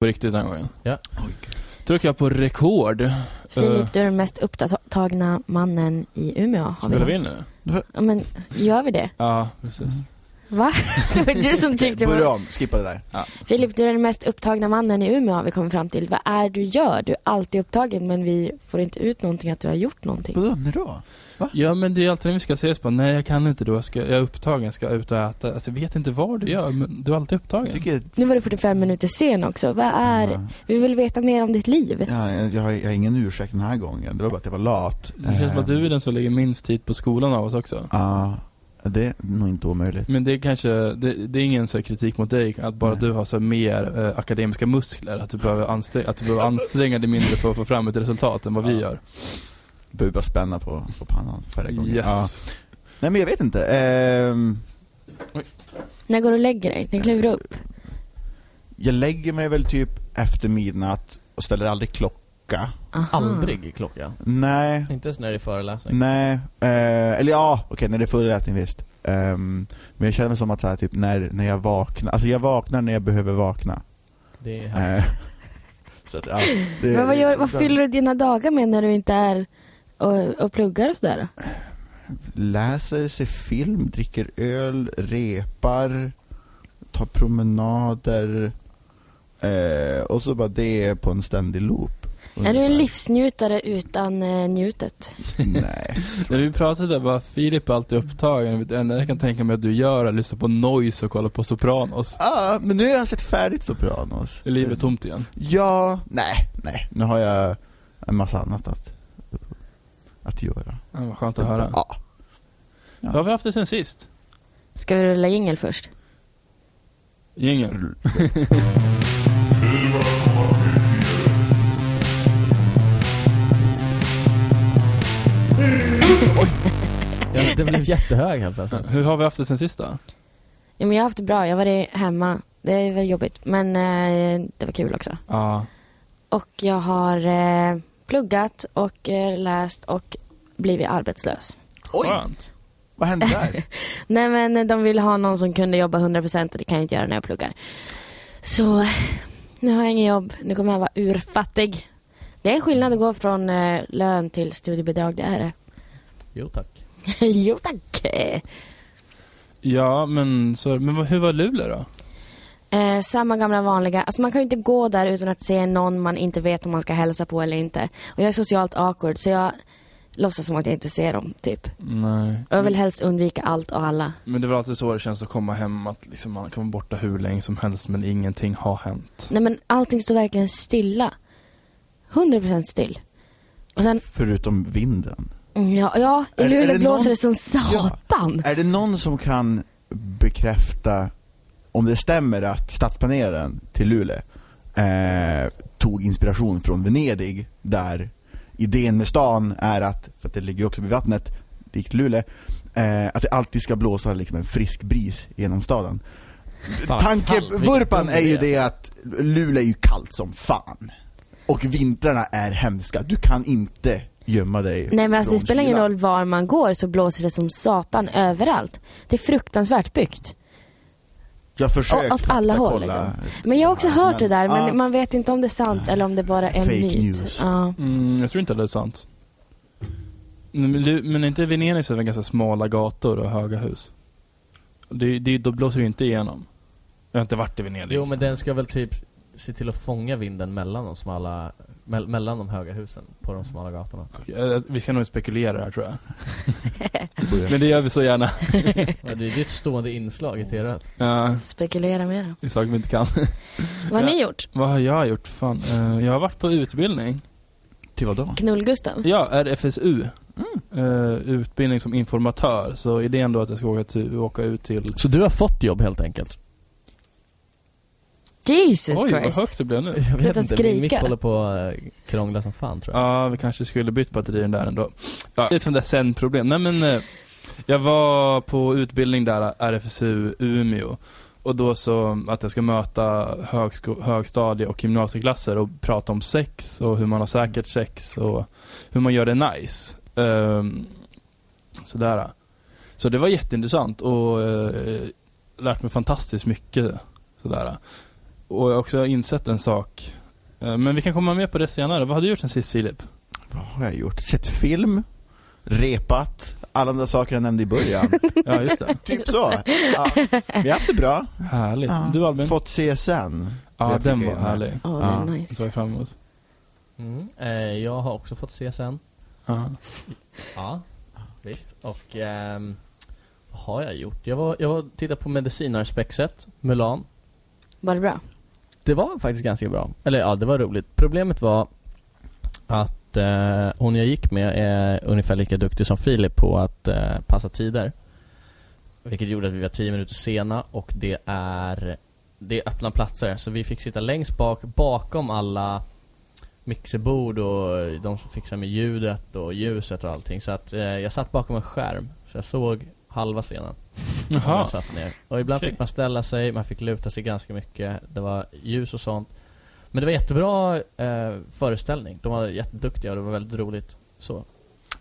på riktigt den gången. Ja. Tryckte jag på rekord. Eh, Filip, du är den mest upptagna mannen i Umeå. Har spelar vi vi. in nu? Ja, men gör vi det? Ja, precis. Va? Det var du som tyckte... det Börja var- om, skippa det där. Filip, du är den mest upptagna mannen i Umeå har vi kommit fram till. Vad är det du gör? Du är alltid upptagen men vi får inte ut någonting att du har gjort någonting. Vadå, när då? Ja, men det är alltid när vi ska ses bara, nej jag kan inte då, jag, ska, jag är upptagen, ska ut och äta. Alltså jag vet inte vad du gör, men du är alltid Jag upptagen. tycker... Nu var du 45 minuter sen också. Vad är... Vi vill veta mer om ditt liv. Ja, jag, jag, har, jag har ingen ursäkt den här gången. Det var bara att jag var lat. Det känns som att du är den som lägger minst tid på skolan av oss också. Eh, Ja, det är nog inte omöjligt. Men det är kanske, det, det är ingen så här kritik mot dig, att bara Nej. du har så här mer eh, akademiska muskler, att du, behöver anstränga, att du behöver anstränga dig mindre för att få fram ett resultat än vad vi gör. Behöver bara spänna på, på pannan förra gången. Ja. Yes. Nej men jag vet inte. Ehm, När går du och lägger dig? När kliver du upp? jag lägger mig väl typ efter midnatt och ställer aldrig klocka. Aha. Aldrig klocka. Nej, Inte ens när det är föreläsning. nej. Eh, eller ja, okej när det är föreläsning visst. Ehm, men jag känner mig som att så här, typ när, när jag vaknar, alltså jag vaknar när jag behöver vakna. Det är Eh, så att, ja, det- Men vad, gör, vad fyller du dina dagar med när du inte är och, och pluggar och sådär? Läser, ser film, dricker öl, repar, tar promenader. Eh, och så bara det på en ständig loop. Är du en livsnjutare utan eh, njutet? Nej. När vi pratade bara, Filip är alltid upptagen, Vet du, det enda jag kan tänka mig att du gör är att lyssna på noise och kolla på Sopranos. Ah, men nu har jag sett färdigt Sopranos. Är livet tomt igen? Ja, nej, nej. Nu har jag en massa annat att, att göra. Ja, vad skönt att höra. Ja. Vad har vi haft det sen sist? Ska vi rulla jingel först? Jingel. Ja, det blev jättehög helt plötsligt. Hur har vi haft det sen sist då? Ja, men jag har haft det bra, jag har varit hemma. Det var jobbigt, men eh, det var kul också. Ja. Och jag har eh, pluggat och eh, läst och blivit arbetslös. Oj, Skönt. vad hände där? Nej men de ville ha någon som kunde jobba 100% och det kan jag inte göra när jag pluggar. Så nu har jag ingen jobb, nu kommer jag vara urfattig. Det är en skillnad att gå från eh, lön till studiebidrag, det är det. Jo tack. jo tack! Ja, men, så, men vad- hur var Luleå då? Eh, samma gamla vanliga, alltså man kan ju inte gå där utan att se någon man inte vet om man ska hälsa på eller inte. Och jag är socialt awkward så jag låtsas som att jag inte ser dem, typ. Nej. Och jag Mm. vill helst undvika allt och alla. Men det var alltid så det känns att komma hem, att liksom man kan vara borta hur länge som helst men ingenting har hänt. Nej men allting står verkligen stilla. 100% still. Och sen, Förutom vinden. mm, ja, ja i Är- är Luleå det blåser någon- det som satan. Är det någon som kan bekräfta om det stämmer att stadsplaneraren till Luleå eh, tog inspiration från Venedig där idén med stan är att, för att det ligger ju också vid vattnet, likt Luleå, eh, att det alltid ska blåsa liksom en frisk bris genom staden. Fan, kallt, vilken Tankevurpan dum är ju idé. det att Luleå är ju kallt som fan. Och vintrarna är hemska. Du kan inte gömma dig Nej men alltså det från spelar ingen kylan. roll var man går så blåser det som satan överallt. Det är fruktansvärt byggt. Jag har försökt Å- åt alla håll, faktakolla. Men jag har också hört det där men Ah. man vet inte om det är sant eller om det bara är en Fake myt. news. Ja. Mm, jag tror inte det är sant. Men Lu- men är inte Venedig så är det ganska smala gator och höga hus? Det, det, då blåser det ju inte igenom. Jag har inte varit i Venedig. Jo men den ska väl typ se till att fånga vinden mellan de smala, mell- mellan de höga husen på de smala gatorna. Okej, eh, Vi ska nog spekulera här tror jag. liksom. Men det gör vi så gärna. Ja, det är ju ett stående inslag i tv Ja, Spekulera mer. det är saker vi inte kan. Vad har Ja. ni gjort? Vad har jag gjort? Fan, eh, jag har varit på utbildning. Till vad då? Knull-Gustav? Ja, RFSU. Eh, utbildning som informatör. Så idén då att jag ska åka, till, åka ut till... Så du har fått jobb helt enkelt? Jesus Oj, vad Christ. högt det blev nu. Jag Sluta skrika. min mick håller på att eh, krångla som fan tror jag. Ja, vi kanske skulle bytt batteri den där ändå. Ja, det är ett sånt där sen-problem. Nej men, eh, jag var på utbildning där, RFSU Umeå. Och då så att jag ska möta högsko- högstadie och gymnasieklasser och prata om sex och hur man har säkert sex och hur man gör det nice. Ehm, sådär. Så det var jätteintressant och eh, lärt mig fantastiskt mycket. Sådär. Och jag har också insett en sak. Eh, Men vi kan komma med på det senare. Vad har du gjort sen sist Filip? Vad har jag gjort? Sett film, repat, alla de där sakerna jag nämnde i början. Ja, just det. typ så. Ja, vi har haft det bra. Härligt. Ja. Du Albin? Fått CSN. Ja, Jag fick den in var det. härlig. Åh, Ja, det är Den såg nice. jag fram emot. Mm. Eh, jag har också fått CSN. Ja. Ja, visst. Och ehm, vad har jag gjort? Jag var, jag var tittade på medicinarspexet, Mulan. Var det bra? Det var faktiskt ganska bra. Eller ja, det var roligt. Problemet var att eh, hon jag gick med är ungefär lika duktig som Filip på att eh, passa tider. Vilket gjorde att vi var 10 minuter sena och det är, det är öppna platser. Så vi fick sitta längst bak, bakom alla mixerbord och de som fixar med ljudet och ljuset och allting. Så att eh, jag satt bakom en skärm. Så jag såg halva scenen. Jaha. Jaha. Man satt ner. Ah. Och ibland Okej. fick man ställa sig, man fick luta sig ganska mycket. Det var ljus och sånt. Men det var jättebra eh, föreställning. De var jätteduktiga och det var väldigt roligt. Så.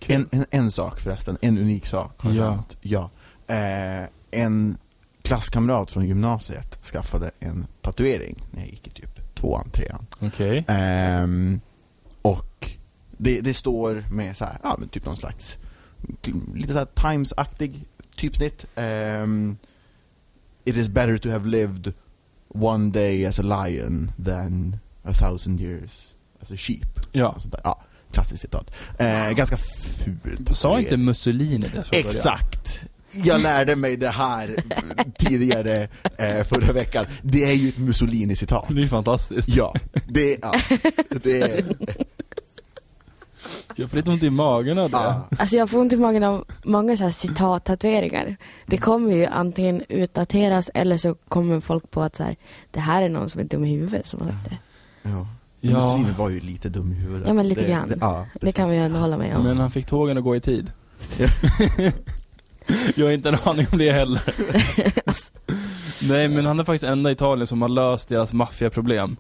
En, en, en sak förresten, en unik sak har Ja. hänt. Ja. Eh, en klasskamrat från gymnasiet skaffade en tatuering när jag gick i typ tvåan, trean. Okej. Ehm, och det, det står med så här, ja men typ någon slags kl- lite så här Times-aktig typsnitt. Ehm, It is better to have lived one day as a lion than a thousand years as a sheep. Ja. Och sånt där. ja klassiskt citat. Eh, ganska fult. Sa inte Mussolini det? från början? Exakt! Jag lärde mig det här tidigare eh, förra veckan. Det är ju ett Mussolini-citat. Det är fantastiskt. Ja, det, ja. det Jag får lite ont i magen av det. ja. Alltså jag får ont i magen av många så här citat-tatueringar. Det Mm. kommer ju antingen utdateras eller så kommer folk på att så här, det här är någon som är dum i huvudet som har sagt det. ja. Ja. Mussolini var ju lite dum i huvudet. Ja, men lite det, grann. Det, ja, Det kan vi ju ändå hålla med om. Men han fick tågen att gå i tid. Ja. jag har inte en aning om det heller. Nej, men han är faktiskt enda i Italien som har löst deras maffiaproblem.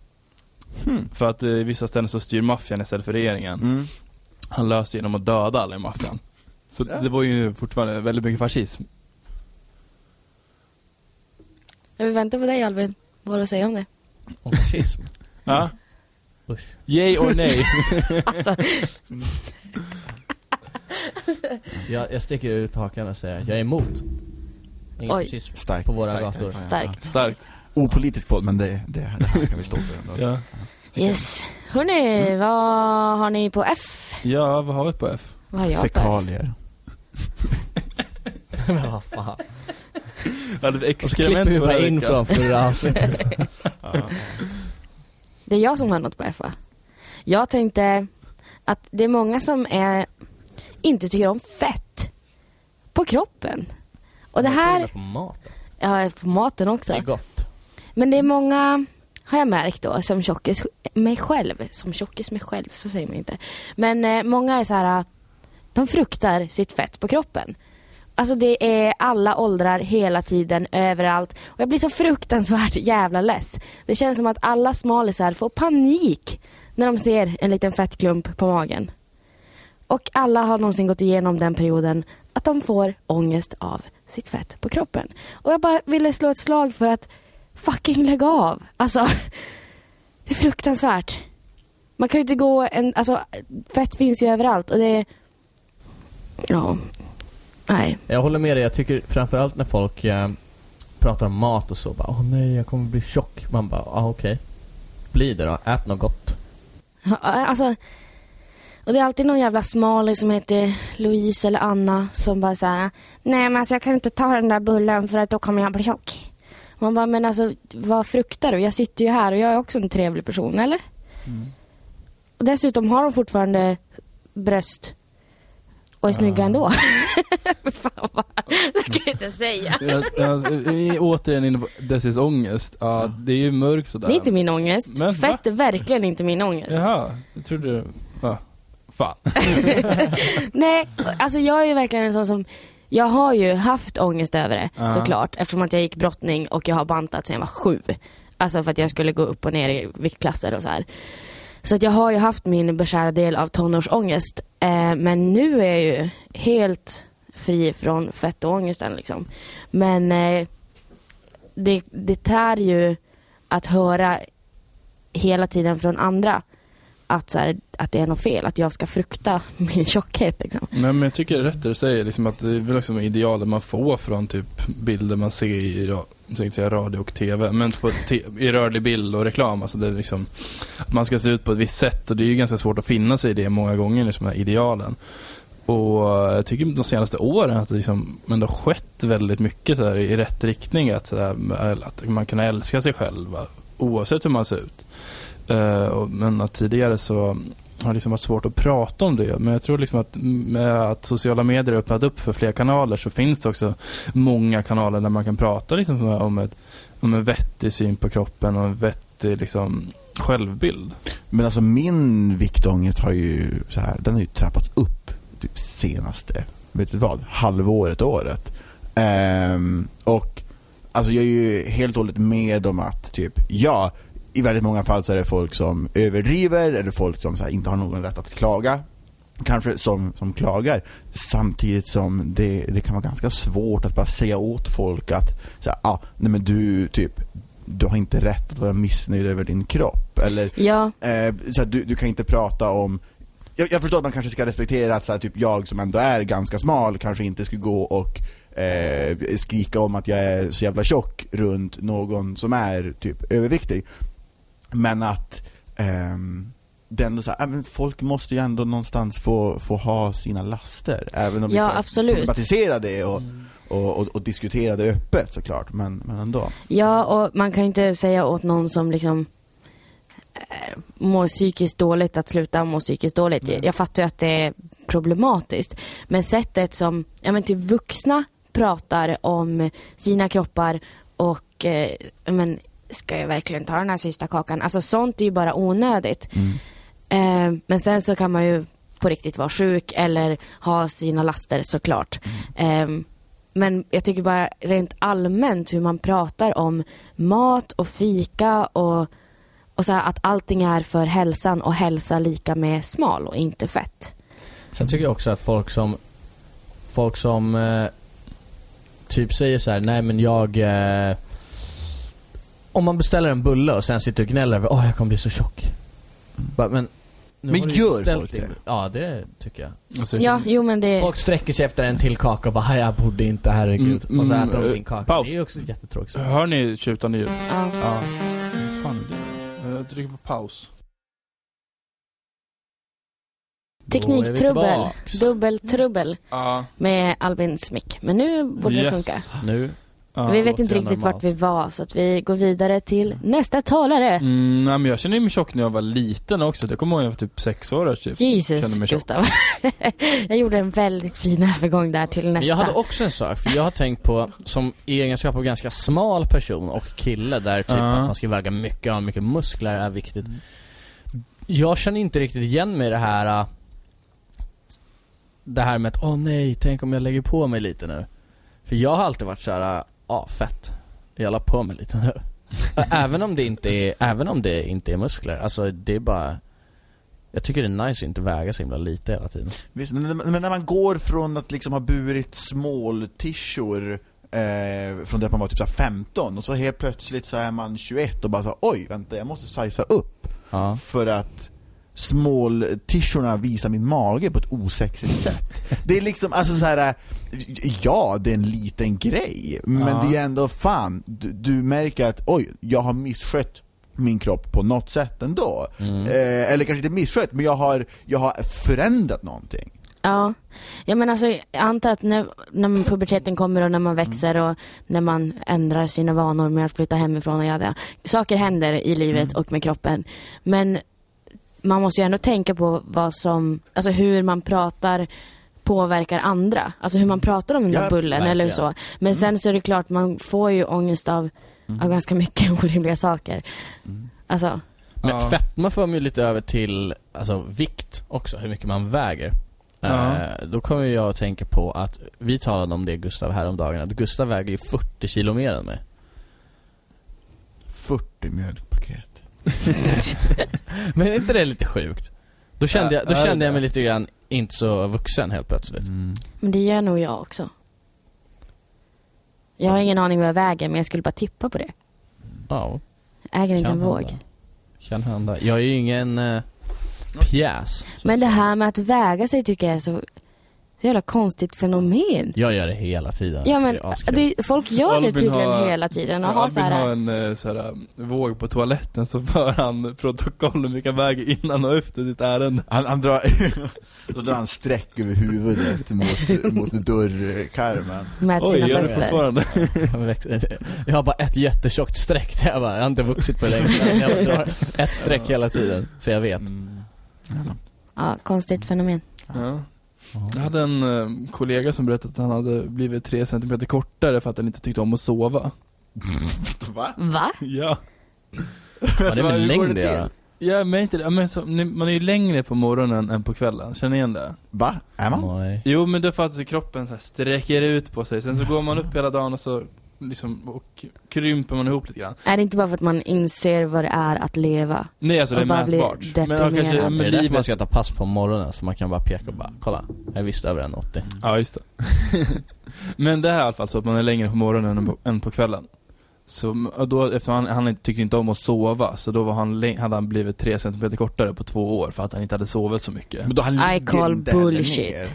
Hmm. För att eh, i vissa ställen så styr maffian istället för regeringen. Mm. Han löser genom att döda alla i maffian. Så Ja. det var ju fortfarande väldigt mycket fascism. Jag vill vänta på dig Albin. Vad har du att säga om det? Om fascism. Ja. Usch. Yay or nej? Alltså, Jag, jag sticker ut hakan och säger jag är emot. Ingen Oj. fascism. Starkt. På våra starkt, gator. ja. Starkt. Starkt. Opolitisk podd, men det, det, det här kan vi stå för ändå. Ja. yes. Hörni, Mm. vad har ni på F? ja, vad har vi på F? Vad har jag på F? Fekalier. Men vad fan. Jag hade ett Och så klipper vi experiment bara förra in veckan. från förra avsnittet. Det är jag som har något på F va? Jag tänkte att det är många som är, inte tycker om fett på kroppen. Och det Jag tror här, på mat. ja på maten också. Det är gott. Men det är många, har jag märkt då, som tjockis, mig själv, som tjockis mig själv, så säger man inte. Men eh, många är så här, de fruktar sitt fett på kroppen. Alltså det är alla åldrar, hela tiden, överallt. Och jag blir så fruktansvärt jävla less. Det känns som att alla smålisar får panik när de ser en liten fettklump på magen. Och alla har någonsin gått igenom den perioden att de får ångest av sitt fett på kroppen. Och jag bara ville slå ett slag för att fucking lägga av. Alltså, det är fruktansvärt. Man kan ju inte gå en, alltså fett finns ju överallt och det, ja, nej. Jag håller med dig. Jag tycker framförallt när folk eh, pratar om mat och så bara Åh nej, jag kommer bli tjock. Man bara, ah, okej. Bli det då. Ät något gott. Ja, Alltså, och det är alltid någon jävla smalis som heter Louise eller Anna som bara såhär, nej men alltså jag kan inte ta den där bullen för att då kommer jag bli tjock. Man bara, men alltså vad fruktar du? Jag sitter ju här och jag är också en trevlig person, eller? Mm. Och dessutom har de fortfarande bröst och är snygga Ja. ändå. Fan vad, det kan jag inte säga. Jag, jag, jag, är alltså, återigen inne på Dessis ångest. Ja, det är ju mörkt sådär. Det är inte min ångest. Men va? Fett är verkligen inte min ångest. Jaha, jag trodde du... Ja. Fan. Nej, alltså jag är ju verkligen en sån som jag har ju haft ångest över det Ja. såklart eftersom att jag gick brottning och jag har bantat sedan jag var sju. Alltså för att jag skulle gå upp och ner i viktklasser och så här. Så att jag har ju haft min beskärda del av tonårsångest. Eh, men nu är jag ju helt fri från fett och ångesten liksom. Men eh, det, det tär ju att höra hela tiden från andra att, så här, att det är något fel, att jag ska frukta min tjockhet. Liksom. Men, men jag tycker det är rätt det du säger, liksom att det är väl också de idealen man får från typ bilder man ser i ra- jag tänkte säga radio och TV, men på te- i rörlig bild och reklam. Alltså det är liksom, att man ska se ut på ett visst sätt och det är ju ganska svårt att finna sig i det många gånger, liksom de här idealen. Och jag tycker de senaste åren att det liksom, men det har skett väldigt mycket så här i rätt riktning. Att, så här, att man kan älska sig själv va, oavsett hur man ser ut. Eh, och- men att tidigare så har det liksom varit svårt att prata om det. Men jag tror liksom att med att sociala medier har öppnat upp för fler kanaler så finns det också många kanaler där man kan prata liksom om, ett, om en vettig syn på kroppen och en vettig liksom, självbild. Men alltså min viktångest har ju, så här, den har ju trappats upp typ senaste, vet du vad, halvåret, året. Ehm, och alltså jag är ju helt och hållet med om att typ, ja, i väldigt många fall så är det folk som överdriver eller folk som så här, inte har någon rätt att klaga. Kanske som, som klagar. Samtidigt som det, det kan vara ganska svårt att bara säga åt folk att så här, ah, nej men du typ, du har inte rätt att vara missnöjd över din kropp. Eller Ja, Eh, så att du, du kan inte prata om jag, jag förstår att man kanske ska respektera att så här, typ jag som ändå är ganska smal kanske inte skulle gå och eh, skrika om att jag är så jävla tjock runt någon som är typ överviktig. Men att ehm, det är ändå så här, äh, men folk måste ju ändå någonstans få, få ha sina laster. Även om Ja, vi ska absolut. problematisera det och, och, och, och diskutera det öppet såklart. Men, men ändå. ja, och man kan ju inte säga åt någon som liksom eh, mår psykiskt dåligt att sluta må psykiskt dåligt. Jag, jag fattar ju att det är problematiskt. Men sättet som, ja men till vuxna pratar om sina kroppar och, eh, ja, men ska jag verkligen ta den här sista kakan? Alltså sånt är ju bara onödigt. Mm. Eh, men sen så kan man ju på riktigt vara sjuk eller ha sina laster såklart. Eh, men jag tycker bara rent allmänt hur man pratar om mat och fika och, och så här att allting är för hälsan och hälsa lika med smal och inte fett. Sen tycker jag också att folk som Folk som eh, typ säger så här: nej men jag eh, Om man beställer en bulle och sen sitter och gnäller över, åh jag kommer bli så tjock. Bara, men nu Men har du gör beställt folk din- det? Ja det tycker jag. Alltså, jag Ja, känner- jo men det... Folk sträcker sig efter en till kaka och bara, "Aj, jag borde inte, herregud. Mm, och så mm, äter de eh, sin kaka. paus. Det är ju också jättetråkigt. Hör ni tjutande ljud? Ja. Ja. Vad fan är det? Jag trycker på paus. Då är vi Tekniktrubbel. tillbaks. Dubbeltrubbel Ja. med Albins mick. Men nu borde det Yes. funka. Nu. Ja, vi vet inte återigen riktigt normalt. vart vi var så att vi går vidare till nästa talare. Mm, nej, men jag kände mig tjock när jag var liten också. Jag kommer ihåg när jag var typ sex år. Typ. Jesus, Känner mig tjock. Gustav. jag gjorde en väldigt fin övergång där till Men nästa. jag hade också en sak, för jag har tänkt på, som i egenskap av ganska smal person och kille där typ Ja. att man ska väga mycket, ha mycket muskler är viktigt. Jag känner inte riktigt igen mig i det här äh, Det här med att, åh nej, tänk om jag lägger på mig lite nu. För jag har alltid varit så här, äh, ja fett. Jag la på mig lite nu. även om det inte är, även om det inte är muskler. Alltså det är bara jag tycker det är nice att inte väga så himla lite hela tiden. Visst, men, men när man går från att liksom ha burit smål-tishor eh, från det att man var typ så här 15 och så helt plötsligt så är man 21 och bara så här, oj vänta jag måste sajsa upp Ja. för att smål-tishorna visar min mage på ett osexigt sätt. Det är liksom, alltså så här. eh, ja det är en liten grej men Ja. det är ändå fan, du, du märker att oj, jag har misskött min kropp på något sätt ändå. Eh, eller kanske inte misskött, men jag har, jag har förändrat någonting. Ja. ja, men alltså jag antar att när, när puberteten kommer och när man växer och när man ändrar sina vanor med att flytta hemifrån och göra det. Saker händer i livet och med kroppen. Men man måste ju ändå tänka på vad som, alltså hur man pratar påverkar andra. Alltså hur man pratar om den där Ja, bullen eller verkligen. så. Men sen så är det klart, man får ju ångest av, av ganska mycket orimliga saker. Alltså, Men Ja. fetma för mig lite över till alltså, vikt också, hur mycket man väger. Ja. Eh, då kommer jag att tänka på att vi talade om det Gustav häromdagen, att Gustav väger ju 40 kilo mer än mig. 40 mjölkpaket. Men är inte det lite sjukt? Då kände, Ja, jag, då är det kände jag det? mig lite grann inte så vuxen helt plötsligt. Men det gör nog jag också. Mm. Jag har ingen aning vad jag väger men jag skulle bara tippa på det. Ja. Äger inte Kan en våg. hända. Kan hända. Jag är ju ingen Mm. eh, pjäs. så Men att det säga. här med att väga sig tycker jag är så, så jävla konstigt fenomen. Jag gör det hela tiden. Ja Jag men tycker är askul. det, folk gör det Albin tydligen har- hela tiden och Om har Albin så här, har en eh, så här, våg på toaletten så för han protokoll om vilka väger innan och efter sitt ärende. Han, han drar, så drar han streck över huvudet mot, mot dörrkarmen. med Oj, sina gör det fötter. fortfarande? Jag växer- Jag har bara ett jättetjockt streck. där Jag, bara, jag har inte vuxit på det längre. Jag bara drar ett streck hela tiden. Så jag vet. Mm. Ja, konstigt fenomen. Ja. Jag hade en eh, kollega som berättade att han hade blivit tre centimeter kortare för att han inte tyckte om att sova. Va? Va? Ja. Vad det med Hur går längd det att till? göra? Ja, men inte det. Men så, ni- man är ju längre på morgonen än på kvällen, känner ni igen det? Va? Är man? Nej. Jo, men det är för att alltså kroppen så här sträcker ut på sig. Sen så går man upp hela dagen och så liksom, och krymper man ihop lite grann. Är det inte bara för att man inser vad det är att leva? Nej, alltså det är Och bara blir mätbart. Men ja, kanske, deprimerad. men Det är därför man livet... ska ta pass på morgonen så man kan bara peka och bara kolla, jag är visst över 1,80. Ja, just det. men det här är i alla fall så att man är längre på morgonen än på, Mm. än på kvällen. Så och då, eftersom han, han tyckte inte om att sova, så då var han, läng- hade han blivit tre centimeter kortare på två år för att han inte hade sovit så mycket. Men då han I ligger call inte heller bullshit. ner.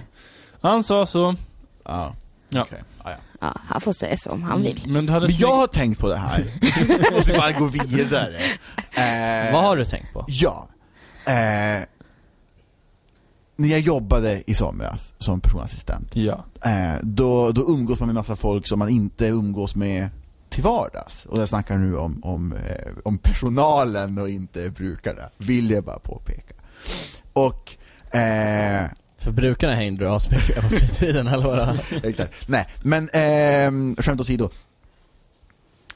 Han sa så. Ja. Ja. Okej. Ja, ja. Ja, han får säga som han Mm. vill. Men, det hade Men jag har tänkt på det här. Jag måste bara gå vidare. Eh, Vad har du tänkt på? Ja. Eh, när jag jobbade i somras som personassistent, Ja. eh, då, då umgås man med massa folk som man inte umgås med till vardags. Och jag snackar nu om, om, eh, om personalen och inte brukarna, vill jag bara påpeka. Och eh, För brukarna hänger du asmycket på fritiden eller vadå? Exakt. Nej, men ehm, skämt åsido.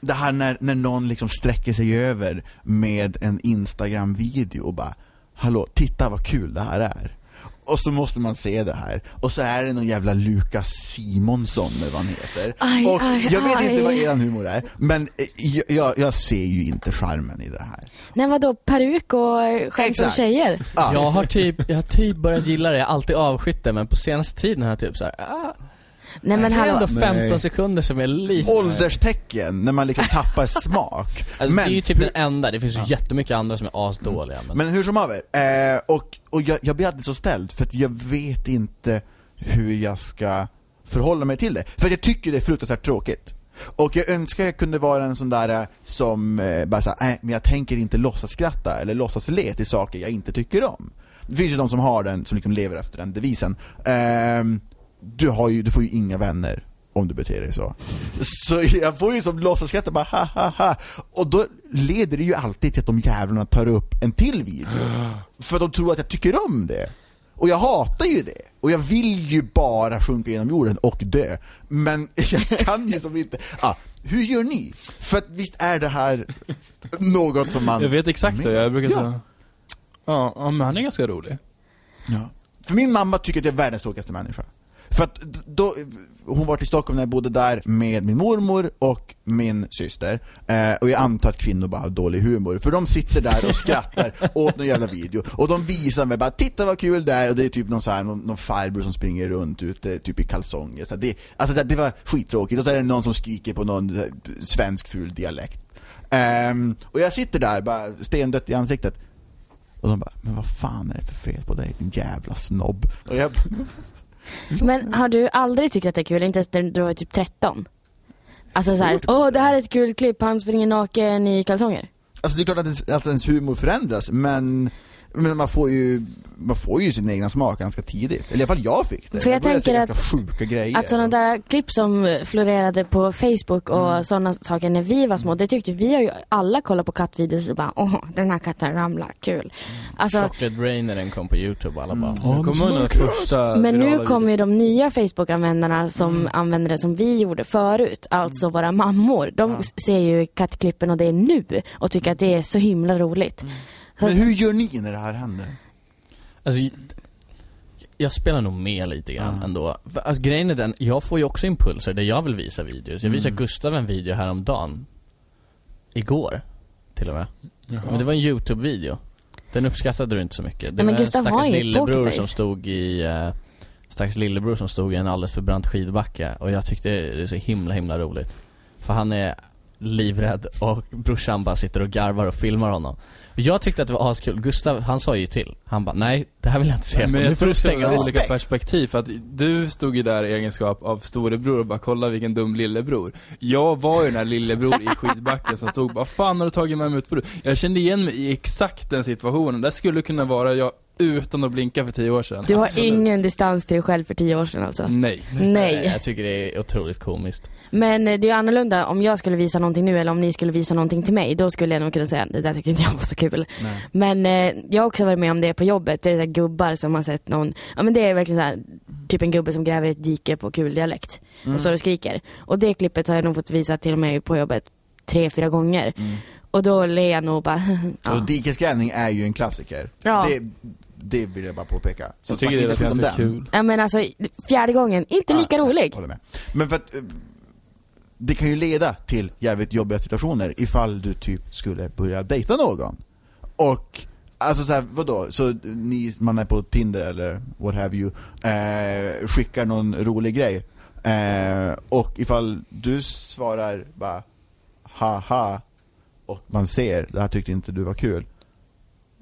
Det här när, när någon liksom sträcker sig över med en Instagram-video och bara Hallå, titta vad kul det här är. Och så måste man se det här. Och så är det någon jävla Lukas Simonsson eller vad han heter. Aj, och aj, jag vet aj. inte vad eran humor är, men eh, jag, jag, jag ser ju inte charmen i det här. Nej vadå, peruk och eh, skämt om Exakt. tjejer? Ja. Jag har typ, jag har typ börjat gilla det, jag har alltid avskytt det men på senaste tiden har jag typ såhär, ah, Nej men det är hallå. ändå Nej. 15 sekunder som är lite Ålderstecken, när man liksom tappar smak. Alltså, men, det är ju typ den enda, det finns ju jättemycket andra som är asdåliga men, Men hur som haver, eh, och, och jag, jag blir alltid så ställd för att jag vet inte hur jag ska förhålla mig till det. För att jag tycker det är fruktansvärt tråkigt. Och jag önskar jag kunde vara en sån där eh, som eh, bara såhär, nej men jag tänker inte låtsas skratta eller låtsas le till saker jag inte tycker om. Det finns ju de som har den, som liksom lever efter den devisen. Ehm, du, har ju, du får ju inga vänner om du beter dig så. Så jag får ju som låtsasskratta bara ha ha ha. Och då leder det ju alltid till att de jävlarna tar upp en till video. För att de tror att jag tycker om det. Och jag hatar ju det. Och jag vill ju bara sjunka genom jorden och dö. Men jag kan ju som inte. Ah, hur gör ni? För att visst är det här något som man... Jag vet exakt det, jag brukar Ja. säga. Ja, ja, men han är ganska rolig. Ja. För min mamma tycker att jag är världens tråkigaste människa. För att d- då, hon var till Stockholm när jag bodde där med min mormor och min syster. Eh, och jag antar att kvinnor bara har dålig humor. För de sitter där och skrattar åt någon jävla video. Och de visar mig bara, titta vad kul det är. Och det är typ någon, så här, någon, någon farbror som springer runt ute typ i kalsonger. Så här, det, alltså, så här, det var skittråkigt. Och så är det någon som skriker på någon så här, svensk ful dialekt. Ehm, och jag sitter där bara stendött i ansiktet. Och de bara, men vad fan är det för fel på dig din jävla snobb? Och jag bara, Men har du aldrig tyckt att det är kul? Inte ens när du var typ 13? Alltså såhär, åh det här är ett kul klipp, han springer naken i kalsonger. alltså det är klart att ens, att ens humor förändras men, men man, får ju, man får ju sin egna smak ganska tidigt. Eller i alla fall jag fick det. För jag började se tänker ganska sjuka grejer. Att sådana där klipp som eh, florerade på Facebook och sådana saker när vi var små, det tyckte vi har ju alla kollat på kattvideos och bara åh, den här katten ramlar, kul. Alltså, Chocolate Rain när den kom på youtube och alla bara Jag Ja, men kommer ihåg den första men nu virala kommer ju de nya Facebook-användarna som använder det som vi gjorde förut, alltså våra mammor. De s- ser ju kattklippen och det är nu och tycker att det är så himla roligt. Men hur gör ni när det här händer? Alltså, j- jag spelar nog med lite grann Ja. ändå. För, Alltså, grejen är den, jag får ju också impulser där jag vill visa videos. Jag visade Gustav en video häromdagen. Igår, till och med. videon. Men det var en YouTube-video. Den uppskattade du inte så mycket. Det men var en Gustav har stackars inget lillebror pokerface. som stod i eh, Stackars lillebror som stod i en alldeles för brant skidbacke och jag tyckte det var så himla himla roligt. För han är livrädd och brorsan bara sitter och garvar och filmar honom. Och jag tyckte att det var askul. Gustav, han sa ju till. Han bara, nej det här vill jag inte se på. Men Nu jag får tror du också stänga det var av. olika Respekt. perspektiv. För att du stod ju där i egenskap av storebror och bara kolla vilken dum lillebror. Jag var ju den här lillebror i skidbacken som stod bara fan har du tagit med mig ut på du? Jag kände igen mig i exakt den situationen. Där skulle kunna vara jag utan att blinka för tio år sedan. Du har Absolut. Mm, ingen distans till dig själv för tio år sedan alltså? Nej. Nej. Jag tycker det är otroligt komiskt. Men eh, det är ju annorlunda om jag skulle visa någonting nu eller om ni skulle visa någonting till mig. Då skulle jag nog kunna säga, det där tyckte inte jag var så kul. Nej. Men eh, jag har också varit med om det på jobbet. Det är så här gubbar som har sett någon, ja men det är verkligen så här, typ en gubbe som gräver i ett dike på kul dialekt och står och skriker. Och det klippet har jag nog fått visa till mig på jobbet tre, fyra gånger. Och då ler jag nog och bara, ja. Och dikesgrävning är ju en klassiker. Ja. Det, det vill jag bara påpeka. Så Jag tycker snacka det lät inte skit om ganska den. kul. ja men alltså fjärde gången, inte lika Ja, rolig. Håller med. Men för att eh, det kan ju leda till jävligt jobbiga situationer ifall du typ skulle börja dejta någon. Och Alltså såhär, vadå? Så ni, man är på Tinder eller what have you, eh, skickar någon rolig grej. Eh, och ifall du svarar bara haha och man ser, det här tyckte inte du var kul.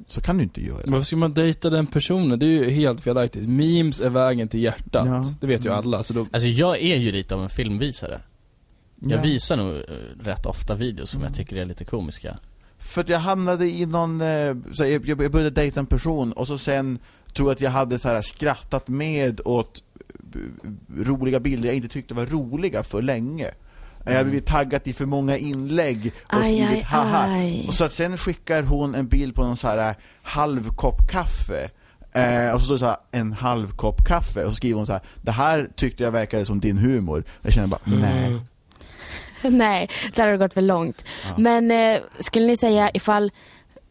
Så kan du inte göra det. Varför ska man dejta den personen? Det är ju helt felaktigt. Memes är vägen till hjärtat. Ja. Mm. Det vet ju alla. Så då, Alltså jag är ju lite av en filmvisare. Jag Ja. visar nog eh, rätt ofta videos som jag tycker är lite komiska. För att jag hamnade i någon, eh, så här, jag, jag började dejta en person och så sen tror jag att jag hade så här skrattat med åt eh, roliga bilder jag inte tyckte var roliga för länge. Eh, Jag hade blivit taggad i för många inlägg och Mm. Aj, skrivit aj, haha. aj. Och så att sen skickar hon en bild på någon så här eh, halv kopp kaffe. Eh, och så står det så här, en halv kopp kaffe. Och så skriver hon så här, det här tyckte jag verkade som din humor. Jag känner bara, Mm. nej. Nej, där har det gått för långt. Men eh, skulle ni säga ifall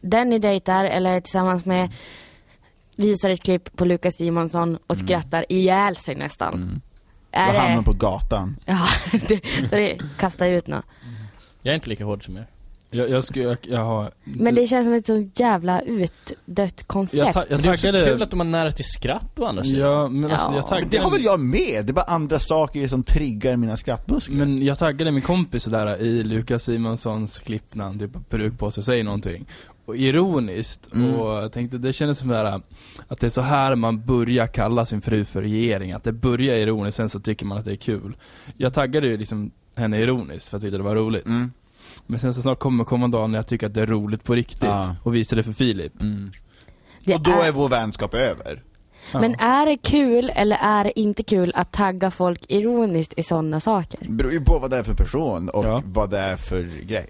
den ni dejtar eller är tillsammans med visar ett klipp på Lukas Simonsson och skrattar ihjäl sig nästan. Jag Är Mm. hamnar det... på gatan. Ja, det, så det kastar ut något. Jag är inte lika hård som er. jag, jag, skulle- jag, jag har... Men det känns som ett så jävla utdött jag, koncept. ta, jag det är också taggade... kul att de har nära till skratt å andra sidan. Ja, men alltså Ja. jag taggade... Det har väl jag med? Det är bara andra saker som triggar mina skrattmuskler. Men jag taggade min kompis sådär i Lukas Simonssons klipp när han typ har peruk på sig och säger någonting. Och ironiskt, Mm. och jag tänkte det kändes som där att det är så här man börjar kalla sin fru för regering. Att det börjar ironiskt, sen så tycker man att det är kul. Jag taggade ju liksom henne ironiskt för att jag tyckte det var roligt. Mm. Men sen så snart kommer, kommer dagen när jag tycker att det är roligt på riktigt Ja. och visar det för Filip. Det mm. Och då är vår vänskap över. Ja. Men är det kul eller är det inte kul att tagga folk ironiskt i sådana saker? Det beror ju på vad det är för person och Ja. vad det är för grej.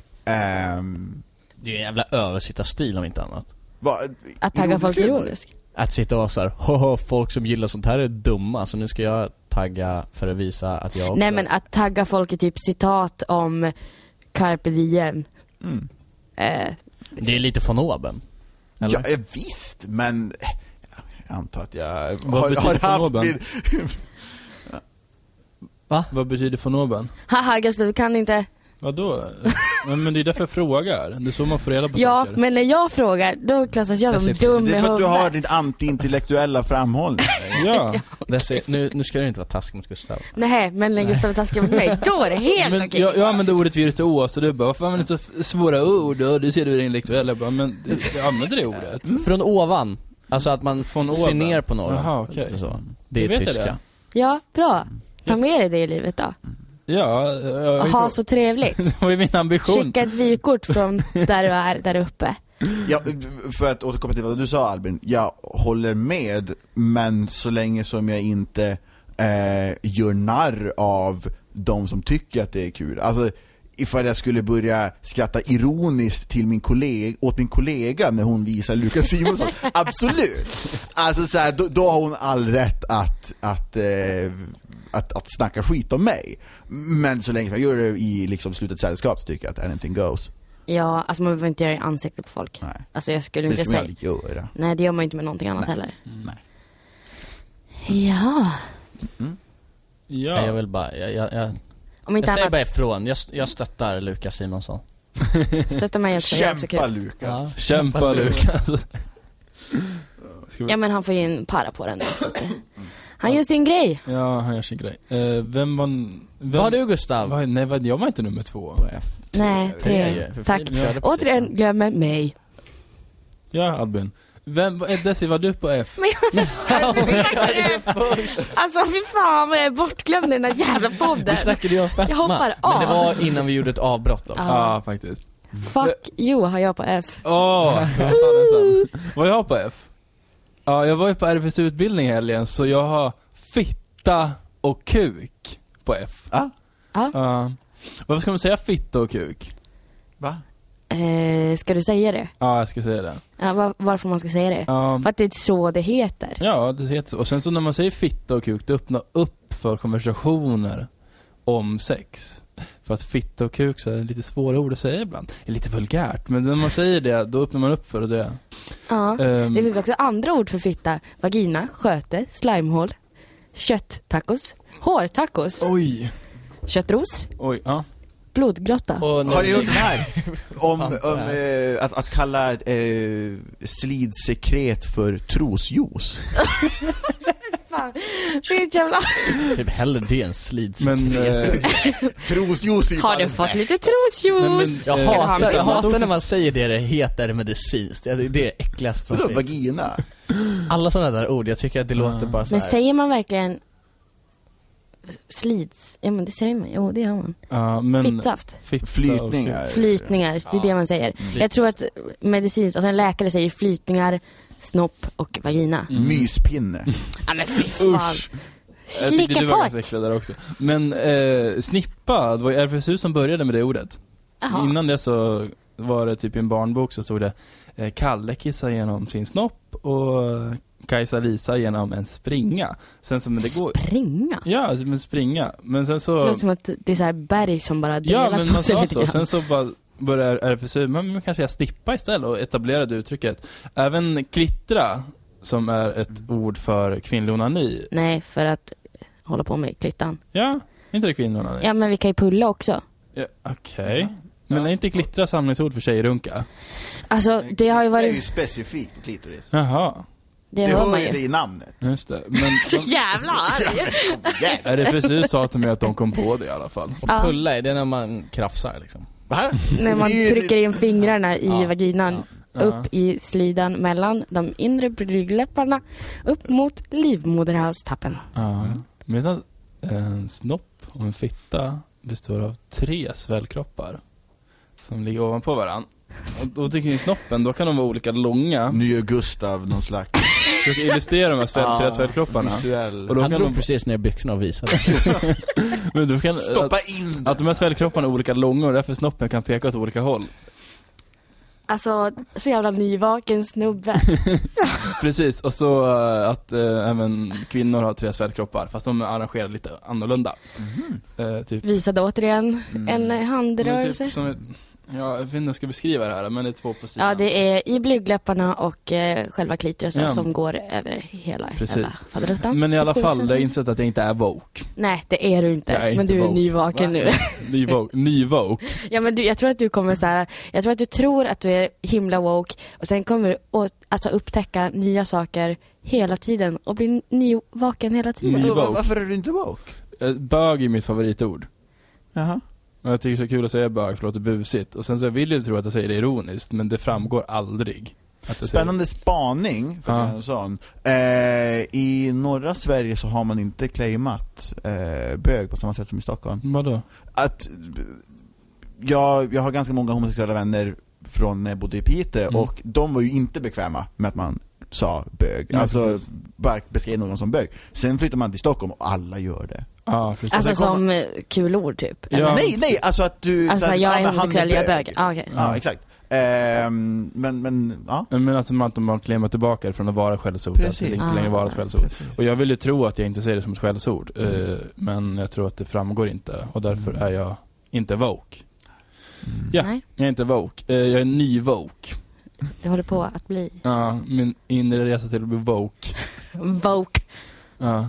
Ehm, Det är ju en jävla översittarstil om inte annat. vad, Att tagga folk humor? ironiskt? Att sitta och vara såhär, haha folk som gillar sånt här är dumma så nu ska jag tagga för att visa att jag också Nej men att tagga folk i typ citat om carpe diem. Mm. Eh, Det är lite von oben. Eller? Ja, eh, visst, men eh, jag antar att jag Vad har, har betyder haft fonoben? min... Vad betyder von oben? haha Gustav, du kan inte. Vadå? Nej, men det är därför jag frågar. Det är så man får reda på Ja, saker. men när jag frågar då klassas jag som Jag ser precis. dum i Det är för att du huvudet. har din antiintellektuella framhållning. Ja. Där ser- Nu, nu ska du inte vara taskig mot Gustav. Nej, men när Gustav är taskig mot mig, då är det helt Men okej. jag, jag använde ordet virtuos och du bara, varför använder du så f- svåra ord? Och du ser du är intellektuell. Jag bara, men du- jag använder det ordet. Från ovan. Alltså att man Från ser oben. ner på några. Jaha, okej. Lite så. Det Jag är vet tyska. det. Ja, bra. Ta Yes. med dig det i livet då. Ja, eh, jag, Och ha så trevligt. det var ju min ambition. Skicka ett vykort från där du är, där uppe. Ja, för att återkoppla till vad du sa Albin, jag håller med, men så länge som jag inte eh, gör narr av de som tycker att det är kul. Alltså, ifall jag skulle börja skratta ironiskt till min kollega, åt min kollega när hon visar Lukas Simonsson, absolut! Alltså så här, då, då har hon all rätt att, att eh, att, att snacka skit om mig. Men så länge som jag gör det i liksom slutet sällskap så tycker jag att anything goes. Ja, alltså man behöver inte göra det i ansiktet på folk. Nej. Alltså jag skulle Det inte ska man säga. aldrig göra. Nej, det gör man ju inte med någonting annat heller. Nej. Ja, Nej, Jag Ja. vill bara, jag, jag, jag, om jag inte säger annat, bara ifrån. Jag, jag stöttar Lukas Simonsson. stötta mig också. Jag är också Kämpa kul. Lukas. Kämpa Lukas. Ska vi- Ja men han får ju en para på den där, så att det... Han gör sin grej. Ja, han gör sin grej. Eh, vem var... Vem, Vad har du Gustav? Vad- nej, vad- jag var inte nummer två. Nej, Tre tre. ju, för Tack. Filip körde precis. Återigen, glömmer mig. Ja, Albin. Vem, vad- eh, Desi, var du på F? Men jag Alltså fy fan vad jag är bortglömd i den här jävla Vi podden. snackade ju om fetma. Jag hoppar Men det av. var innan vi gjorde ett avbrott då. Ja. Ja, faktiskt. Fuck you har jag på F. Åh! vad fan är sant? var jag på F? Ja, jag var ju på RFSU-utbildning i helgen, så jag har fitta och kuk på F. Ah, Ja. Ja. varför ska man säga fitta och kuk? va? Eh, ska du säga det? Ja, jag ska säga det. Ja, var, varför man ska säga det? Ja, För att det är så det heter. ja, det heter så. Och sen så när man säger fitta och kuk, det öppnar upp för konversationer om sex. För att fitta och kuk så är det lite svåra ord att säga ibland. Det är lite vulgärt, men när man säger det, då öppnar man upp för det. Ja. Ehm, Ah. Det finns också andra ord för fitta. Vagina, sköte, slimehål, kötttacos, hårtacos, Oj, köttros, oj, ja. blodgrotta. Och när Har ni vi- gjort det här? Om, Fan, om vad eh, att, att kalla eh, slidsekret för trosjuice. Fan, det är ett jävla... Typ hellre det än slids. Men, eh, Trosjuice är Har ju fan du en fått bäst. lite Nej, men- trosjuice? Jag Eh, hatar, jag han- hatar när man säger det det heter medicinskt. Det är det äckligaste som Vadå, finns. Eh, vagina? Alla sådana där ord, jag tycker att det låter bara så Men här. säger man verkligen slids? Ja men det säger man, jo det gör man. ja, men Fittsaft. fitta och kuk. Flytningar. Flytningar, det är det man säger. Jag tror att medicinskt, alltså en läkare säger flytningar, snopp och vagina. Myspinne. Ja men fy fan. Usch! Jag tyckte du Slicka var part. ganska äcklig där också. Men eh, snippa, det var ju RFSU som började med det ordet. Jaha. Innan det så var det typ i en barnbok så stod det eh, Kalle kissar genom sin snopp och eh, Kajsa-Lisa genom en springa. Sen så, men det går... Springa? Ja, alltså, men springa. Men sen Det så... låter som att det är så här berg som bara delar Ja, men på man sig sa lite så. grann. Sen så bara började RFSU, men men kanske jag snippa istället och etablerade uttrycket. Även klittra, som är ett Mm. ord för kvinnlig onani. Nej, för att hålla på med klittan. Ja, inte det kvinnlig onani? Ja, men vi kan ju pulla också. Ja, Okej. Men är inte klittra samlingsord för tjejrunka? Alltså, det har ju Det är ju varit... specifikt på klitoris. Jaha, Det Det hör hör man ju det ju. Mm. i namnet. just det. Men Så jävla arg! Kom igen. RFSU sa till mig att de kom på det i alla fall. Och Ja. pulla, är det när man krafsar liksom? Va? När man Det är ju- trycker in fingrarna i Ja, vaginan, ja. upp i slidan mellan de inre blygdläpparna, upp mot livmoderhalstappen. Ja. Medan en snopp och en fitta består av tre svällkroppar som ligger ovanpå varandra. Och då tycker ni snoppen, då kan de vara olika långa. Nu gör Gustav någon slags Försöker illustrera de här sväll, tre Ah, svällkropparna. visuell... Och då Han kan drog de, precis ner byxorna och visade. men då kan, Stoppa in att, att den. de här svällkropparna är olika långa och därför snoppen kan peka åt olika håll. Alltså, så jävla nyvaken snubbe. Precis, och så eh, att eh, även kvinnor har tre svärdkroppar, fast de är arrangerade lite annorlunda. Mhm. Eh, typ. Visade återigen en eh, Men handrörelse. typ som ett, ja, jag vet inte hur jag ska beskriva det här, men det är två på sidan. Ja, det är i blygdläpparna och eh, själva klitorisen Ja. som går över hela Precis. jävla faderuttan. Men i alla Typ fall, sjusen. jag har insett att jag inte är woke. Nej, det är du inte. Jag är men inte du är woke. nyvaken nu. Ny woke. Ny woke. ja, men du, jag tror att du kommer så här, jag tror att du tror att du är himla woke och sen kommer du åt, alltså, upptäcka nya saker hela tiden och bli nyvaken hela tiden. Ny- Vadå, woke. Varför är du inte woke? Eh, Bög är mitt favoritord. Jaha. Och jag tycker det är så kul att säga bög, för det låter busigt. Och sen så vill jag tro att jag säger det ironiskt, men det framgår aldrig. Att jag säger det. Spännande spaning, för att Ja. göra en sån. Eh, I norra Sverige så har man inte claimat eh, bög på samma sätt som i Stockholm. Vadå? Att, eh, jag, jag har ganska många homosexuella vänner från när jag bodde i Piteå Mm. och de var ju inte bekväma med att man sa bög. Nej, alltså, precis. bara beskrev någon som bög. Sen flyttar man till Stockholm och alla gör det. Ja, precis. Alltså Och sen som eh, kulord typ. Ja. eller? Nej, nej, alltså att du... Alltså så här, jag "Ah, är men han homosexuell, jag är bög. Ah, okej. Mm. Ja, exakt. Ehm, men, men, ja. Men alltså man- att de klämmer tillbaka det från att vara skällsord, att det Precis. inte längre Ah, vara ett alltså. skällsord. Precis. Och jag vill ju tro att jag inte ser det som ett skällsord. eh, Men jag tror att det framgår inte. Och därför är jag inte woke. Ja, Nej. jag är inte woke. Eh, Jag är ny woke. Det håller på att bli Ja, min inre resa till att bli woke. woke. Ja,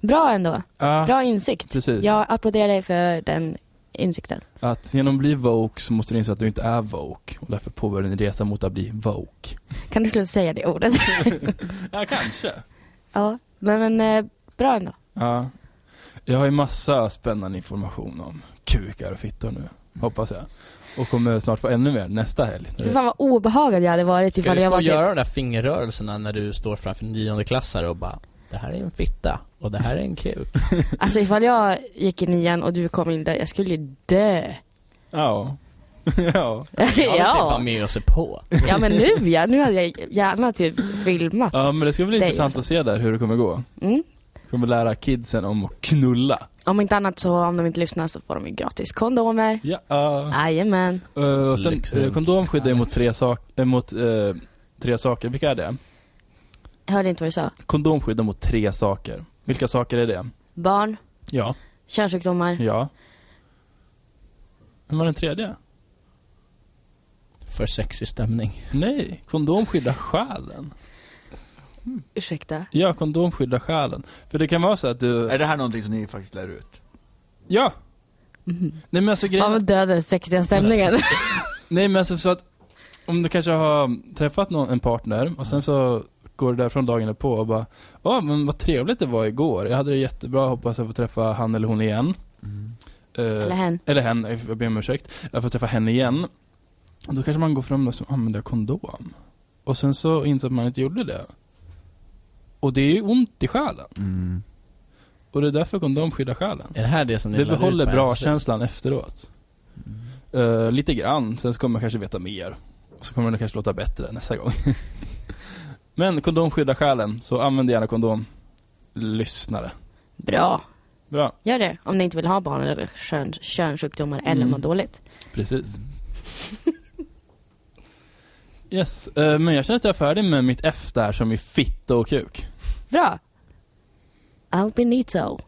Bra ändå. Ja, Bra insikt. precis. Jag applåderar dig för den insikten. Att genom att bli woke så måste du inse att du inte är woke. Och därför påbörjar din resa mot att bli woke. Kan du sluta säga det ordet? Ja, kanske. ja. Nej men eh, bra ändå. Ja. Jag har ju massa spännande information om kukar och fittor nu, hoppas jag. Och kommer snart få ännu mer nästa helg. Fy fan vad obehagad jag hade varit Ska ifall du stå jag var och typ... göra de där fingerrörelserna när du står framför niondeklassare och bara Det här är en fitta och det här är en kuk. Alltså ifall jag gick i nian och du kom in där, jag skulle ju dö. Ja. ja. Jag vill typ vara ja. med och se på. ja men nu ja, nu hade jag gärna typ filmat. Ja, men det ska bli Det är intressant ju att se där hur det kommer gå. Mm. Kommer lära kidsen om att knulla. Om inte annat så om de inte lyssnar så får de ju gratis kondomer. Ja. Jajamän. Eh, och sen, Lyxen. eh, kondom skyddar ju mot tre, sak, eh, mot, eh, tre saker. Vilka är det? Jag hörde inte vad du sa. Kondom skyddar mot tre saker. Vilka saker är det? Barn, Ja. könssjukdomar. Ja. Men var den tredje? För sexig stämning. Nej, kondom skyddar själen. Ursäkta. Ja, kondom skyddar själen. För det kan vara så att du... Är det här någonting som ni faktiskt lär ut? Ja! Mhm. Nej men alltså Fan grejen... vad död den sexiga stämningen. Nej men alltså så att... Om du kanske har träffat någon, en partner och sen så går du därifrån dagen på och bara Ja men vad trevligt det var igår. Jag hade det jättebra, hoppas jag får träffa han eller hon igen. Eh, Eller hen. Eller hen, jag ber om ursäkt. Jag får träffa henne igen. Och då kanske man går fram och så använder jag kondom. Och sen så inser man att man inte gjorde det. Och det är ju ont i själen. Mm. Och det är därför kondom skyddar själen. Är det här det som ni Det lär ut behåller på bra hemsidan? känslan efteråt. Eh, lite grann, sen så kommer man kanske veta mer. Och så kommer det kanske låta bättre nästa gång. Men kondom skyddar själen, så använd gärna kondom. Lyssnare. Bra. Bra, Gör det. Om ni inte vill ha barn eller kön, könssjukdomar eller Mm. mår dåligt. precis. Yes, eh, men jag känner att jag är färdig med mitt F där som är fitta och kuk. Bra. Albinito.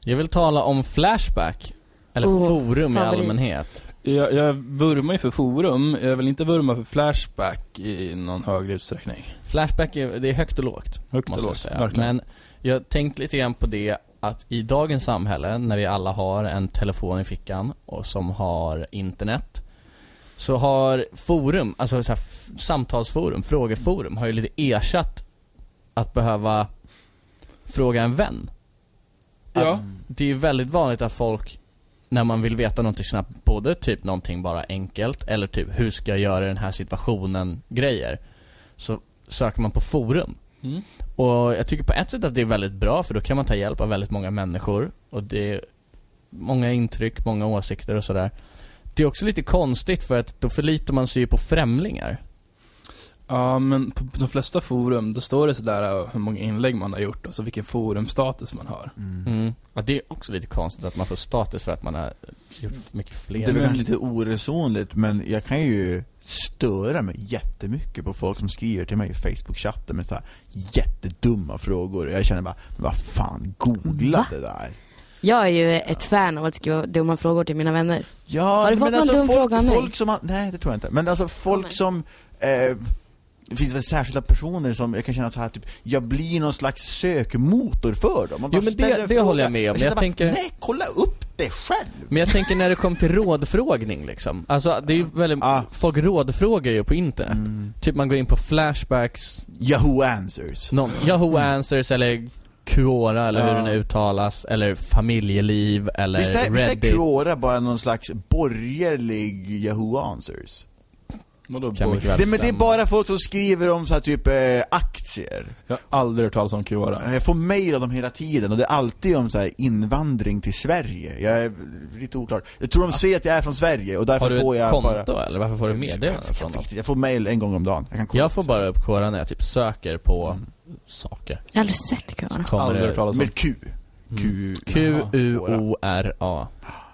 Jag vill tala om Flashback. Eller Oh, forum i favorit. allmänhet. Jag, jag vurmar ju för forum, jag vill inte vurma för Flashback i någon högre utsträckning. Flashback är, det är högt och lågt. Högt och måste jag lågt, säga. verkligen. Men jag tänkte lite grann på det att i dagens samhälle när vi alla har en telefon i fickan och som har internet så har forum, alltså så här, f- samtalsforum, frågeforum har ju lite ersatt att behöva fråga en vän. Ja. Att det är ju väldigt vanligt att folk när man vill veta någonting snabbt, både typ någonting bara enkelt eller typ hur ska jag göra i den här situationen grejer. Så söker man på forum. Mm. Och jag tycker på ett sätt att det är väldigt bra för då kan man ta hjälp av väldigt många människor och det är många intryck, många åsikter och sådär. Det är också lite konstigt för att då förlitar man sig ju på främlingar. Ja, men på de flesta forum, då står det sådär eh, hur många inlägg man har gjort och så vilken forumstatus man har. Mm. Ja, det är också lite konstigt att man får status för att man har gjort mycket fler. Det är väl lite oresonligt men jag kan ju störa mig jättemycket på folk som skriver till mig i Facebook-chatten med så här jättedumma frågor. Jag känner bara, men vad fan, googla Va? det där. Jag är ju ett fan av att skriva dumma frågor till mina vänner. Ja, Har du fått men någon alltså dum folk, fråga av mig? folk som har, Nej, det tror jag inte. Men alltså folk Kommer. som... Eh, det finns väl särskilda personer som jag kan känna så här typ, jag blir någon slags sökmotor för dem. Man bara Jo, men det- ställer en det fråga. håller jag med om. känner Jag bara, tänker- Nej, kolla upp det själv! Men jag tänker när det kom till rådfrågning liksom. Alltså det är ju väldigt, Ah. folk rådfrågar ju på internet. Typ man går in på Flashbacks, Yahoo Answers. någon, Yahoo Answers eller Quora eller hur Ja. den uttalas, eller familjeliv eller Ah. Visst är, visst är Reddit. Quora bara någon slags borgerlig Yahoo Answers? Vadå, Kan boy? mycket väl Det, men det är stämma. bara folk som skriver om så här typ eh, aktier. Jag har aldrig hört talas om Quora. Jag får mejl av dem hela tiden och det är alltid om så här invandring till Sverige. Jag är lite oklar. Jag tror de ser att jag är från Sverige och därför Har du får jag ett konto bara... eller varför får du meddelanden jag, från dem? vet inte, jag får mejl en gång om dagen. Jag, kan kolla Jag får upp bara upp Quora när jag typ söker på Mm. saker. Jag har aldrig sett Kara. Kommer Aldrig hört det talas sen. om. Med Q. Q. Q-U-O-R-A.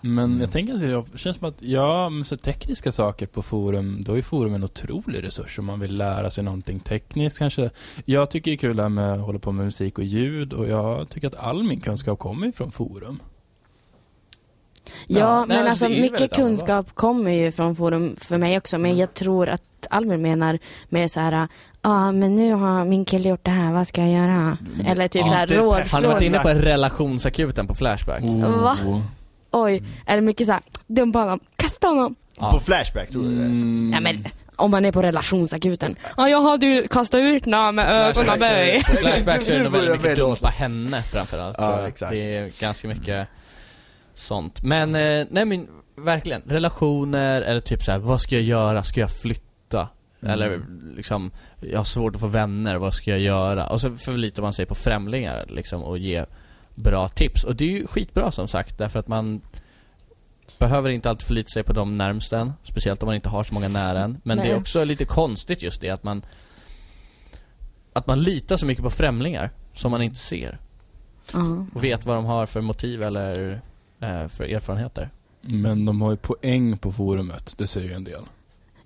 Mm. Men jag tänker att det känns som att, ja, men så tekniska saker på forum, då är forum en otrolig resurs om man vill lära sig någonting tekniskt kanske. Jag tycker det är kul det här med att hålla på med musik och ljud och jag tycker att all min kunskap kommer från forum. Ja, Ja, nej, men alltså, alltså, det är ju mycket väldigt annorlunda. Mm. kunskap kommer ju från forum för mig också. Men jag tror att Albin menar med så här, ja ah, men nu har min kille gjort det här, vad ska jag göra? Mm. Eller typ Ja, så här det är råd perfekt. Har ni varit Från- inne på relationsakuten på Flashback? Mm. Va? Oj, eller mycket så här, dumpa honom, kasta honom. Ja. På Flashback tror du det är? Mm. Ja, men om man är på relationsakuten. Ja, jag hade ju kastat ut några med ögonaböj. Flashbacks är- Flashbacks är Nu ju väldigt börjar jag mycket välja åt. dumpa henne framförallt. Ja, tror jag. exakt. Det är ganska mycket sånt. Men, eh, nej men verkligen. Relationer eller typ så här, vad ska jag göra? Ska jag flytta? Mm. Eller liksom, jag har svårt att få vänner, vad ska jag göra? Och så förlitar man sig på främlingar liksom och ge bra tips. Och det är ju skitbra som sagt, därför att man behöver inte alltid förlita sig på de närmst en. Speciellt om man inte har så många nära en. Men det är Nej. också lite konstigt just det att man att man litar så mycket på främlingar som man inte ser Ja. och vet vad de har för motiv eller eh, för erfarenheter. Men de har ju poäng på forumet, det säger ju en del.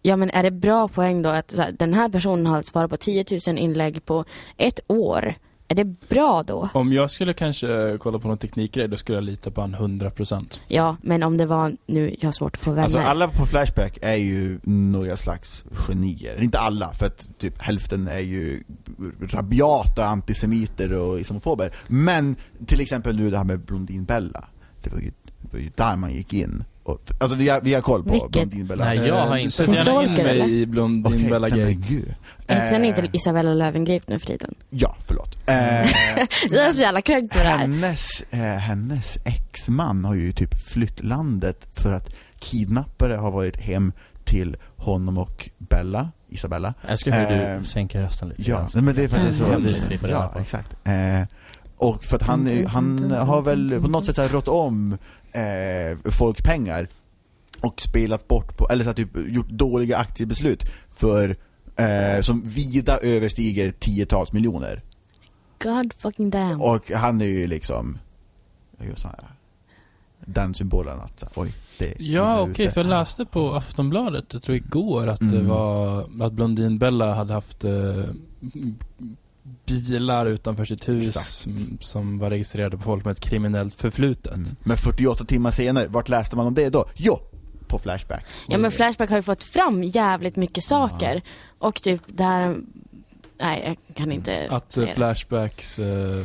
Ja men är det bra poäng då att så här, den här personen har svarat på 10 000 inlägg på ett år? Är det bra då? Om jag skulle kanske eh, kolla på någon teknikgrej, då skulle jag lita på han 100%. Ja, men om det var nu, jag har svårt att få vänner. Alltså alla på Flashback är ju några slags genier. Inte alla, för att typ hälften är ju rabiata antisemiter och islamofober. Men till exempel nu det här med Blondin Bella. Det var ju, det var ju där man gick in. Och, alltså vi har, vi har koll på Vilket? Blondin Bella. Nej, jag har Eh, inte- Sätt gärna in Stalker, eller? mig i Blondin Okej, Bella nej, Gay. men gud. Heter hon Eh, inte Isabella Löwengrip nu för tiden? Ja, förlåt. Eh, Jag är så jävla kränkt över det här. Hennes, eh, hennes exman har ju typ flytt landet för att kidnappare har varit hem till honom och Bella, Isabella. Jag älskar hur Ehm, du sänker rösten lite Ja, grann. nej, men det är för att det är så... Mm. Det, Hemskt vi får är- reda ja, på. exakt. Eh, och för att han, är- han har väl på något sätt så här rått om eh, folks pengar och spelat bort på, eller så här, typ gjort dåliga aktiebeslut för eh, som vida överstiger tiotals miljoner. God fucking damn. Mm. Och han är ju liksom just han, den symbolen att så här, oj, det är illa Ja, okej, ute. för jag läste på Aftonbladet, jag tror igår, att det Mm. var att Blondin Bella hade haft eh, bilar utanför sitt hus Exakt. m- som var registrerade på folk med ett kriminellt förflutet. Mm. Men 48 timmar senare, vart läste man om det då? Jo, på Flashback. Ja men Flashback har ju fått fram jävligt mycket saker. Och typ det här... Nej, jag kan inte Att eh, säga det. Flashbacks eh,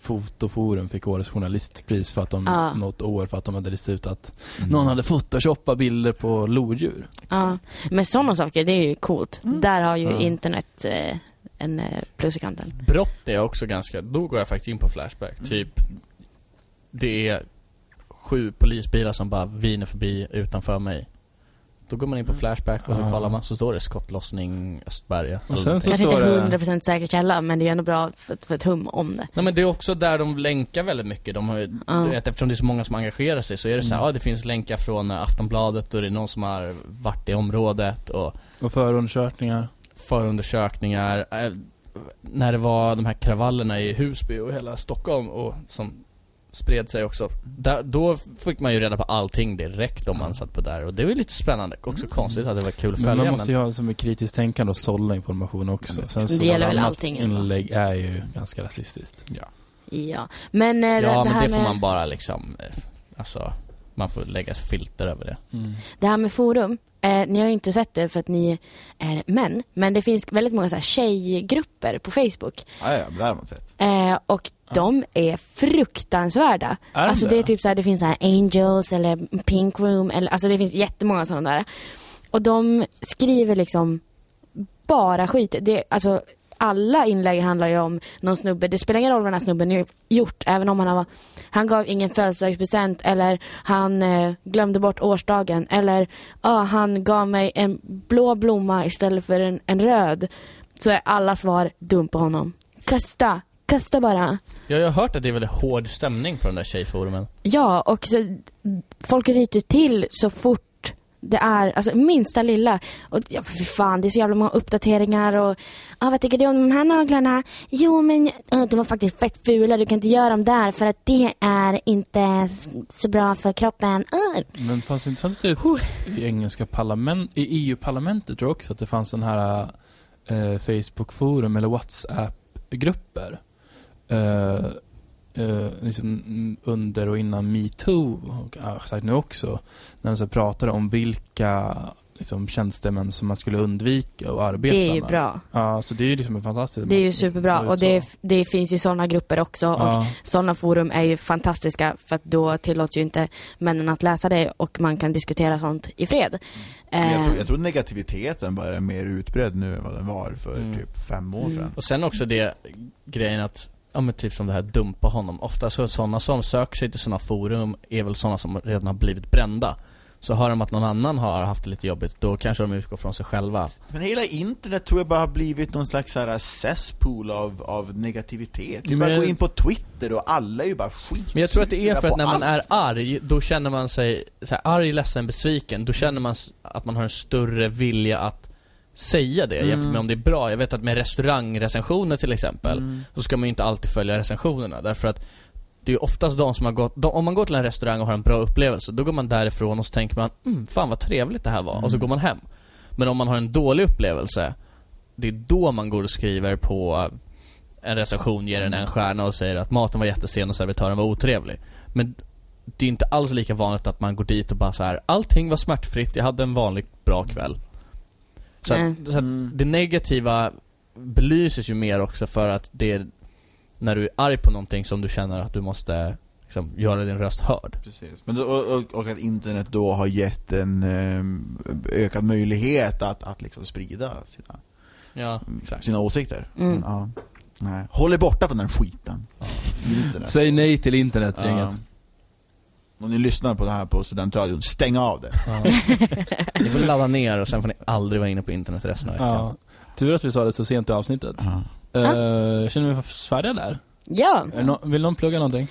fotoforum fick årets journalistpris för att de, Ja. något år för att de hade listat ut att Mm. Mm. någon hade photoshoppat bilder på lodjur. Ja. Men sådana saker, det är ju coolt. Där har ju Ja. internet eh, en eh, plus i kanten. Brott är också ganska, då går jag faktiskt in på Flashback. Typ, det är sju polisbilar som bara viner förbi utanför mig. Då går man in på Flashback och så Ah. kollar man, så står det skottlossning Östberga. Och eller sen någonting. Så Kanske står det- inte 100% säker källa, men det är ändå bra för, för ett hum om det. Nej men det är också där de länkar väldigt mycket. De har, ju- Ja. du vet, eftersom det är så många som engagerar sig så är det så här, Mm. ja det finns länkar från eh, Aftonbladet och det är någon som har varit i området och Och förundersökningar. förundersökningar. Eh, När det var de här kravallerna i Husby och hela Stockholm och som spred sig också. Där, då fick man ju reda på allting direkt om man satt på där och det var lite spännande. Också konstigt att det var kul att Mm. Men man följa måste men, ju ha som är kritiskt tänkande och sålla information också. Sen så Det gäller något väl annat allting, eller? inlägg är ju ganska rasistiskt. Ja, men, eh, Ja det, men här det får med, man bara liksom, eh, alltså man får lägga ett filter över det. Mm. det här med forum, eh, ni har ju inte sett det för att ni är män, men det finns väldigt många så här, tjejgrupper på Facebook. Ja, ja, det har man sett. Eh, och de är fruktansvärda. Är de alltså det? det är typ så här, det finns så här Angels eller Pink Room, eller, alltså det finns jättemånga sådana där. Och de skriver liksom bara skit. Det, alltså, alla inlägg handlar ju om någon snubbe. Det spelar ingen roll vad den här snubben har gjort. Även om han, har, han gav ingen födelsedagspresent eller han eh, glömde bort årsdagen. Eller ah, han gav mig en blå blomma istället för en, en röd. Så är alla svar dum på honom. Kasta, kasta bara. Ja, Jag har hört att det är väldigt hård stämning på de där tjejforumen. Ja, och så, folk ryter till så fort det är, alltså minsta lilla. Och ja, för fan, det är så jävla många uppdateringar och ah, vad tycker du om de här naglarna? Jo, men eh, de var faktiskt fett fula, du kan inte göra dem där för att det är inte s- så bra för kroppen. Ah. Men fanns det inte sånt typ i engelska parlament, i EU-parlamentet tror jag också att det fanns sån här eh, Facebook-forum eller WhatsApp-grupper. Eh, eh, liksom under och innan metoo och ja, sagt nu också. När de så pratade om vilka liksom, tjänstemän som man skulle undvika att arbeta Det är ju med. bra. Ja, så det är ju liksom en fantastisk... Det är ju superbra var ju och det, så. det finns ju sådana grupper också och Ja, sådana forum är ju fantastiska för att då tillåts ju inte männen att läsa det och man kan diskutera sånt i fred. Men Jag Eh, tror, jag tror negativiteten bara är mer utbredd nu än vad den var för Mm. typ fem år Mm. sedan. Och sen också det grejen att, ja men typ som det här dumpa honom. Ofta så sådana som söker sig till sådana forum är väl sådana som redan har blivit brända. Så hör de att någon annan har haft det lite jobbigt, då kanske de utgår från sig själva. Men hela internet tror jag bara har blivit någon slags så här cesspool av, av negativitet. Du bara Men- gå in på Twitter och alla är ju bara skit. Men jag tror att det är för på att när man är allt. arg, då känner man sig så här, arg, ledsen, besviken. Då känner man s- att man har en större vilja att säga det jämfört med om det är bra. Jag vet att med restaurangrecensioner till exempel, så ska man ju inte alltid följa recensionerna. Därför att det är oftast de som har gått, de, om man går till en restaurang och har en bra upplevelse, då går man därifrån och så tänker man mm, fan vad trevligt det här var, och så går man hem. Men om man har en dålig upplevelse, det är då man går och skriver på en recension, ger den en stjärna och säger att maten var jättesen och servitören var otrevlig. Men det är inte alls lika vanligt att man går dit och bara så här, allting var smärtfritt, jag hade en vanlig bra kväll. Så, Nej. att, så att det negativa belyses ju mer också för att det är när du är arg på någonting som du känner att du måste liksom, göra din röst hörd. Precis. Men, då- och, och, och att internet då har gett en ehm, ökad möjlighet att, att liksom sprida sina, Ja, exakt. sina åsikter. Mm. Ja. Nej. Håll er borta från den skiten. Internet. Säg nej till internet, Ja. gänget. Om ni lyssnar på det här på studentradion, stäng av det. Ni får ladda ner och sen får ni aldrig vara inne på internet resten av veckan. Ja. Tur att vi sa det så sent i avsnittet. Eh, känner vi oss färdiga där? ja, Är det nå- vill någon plugga någonting?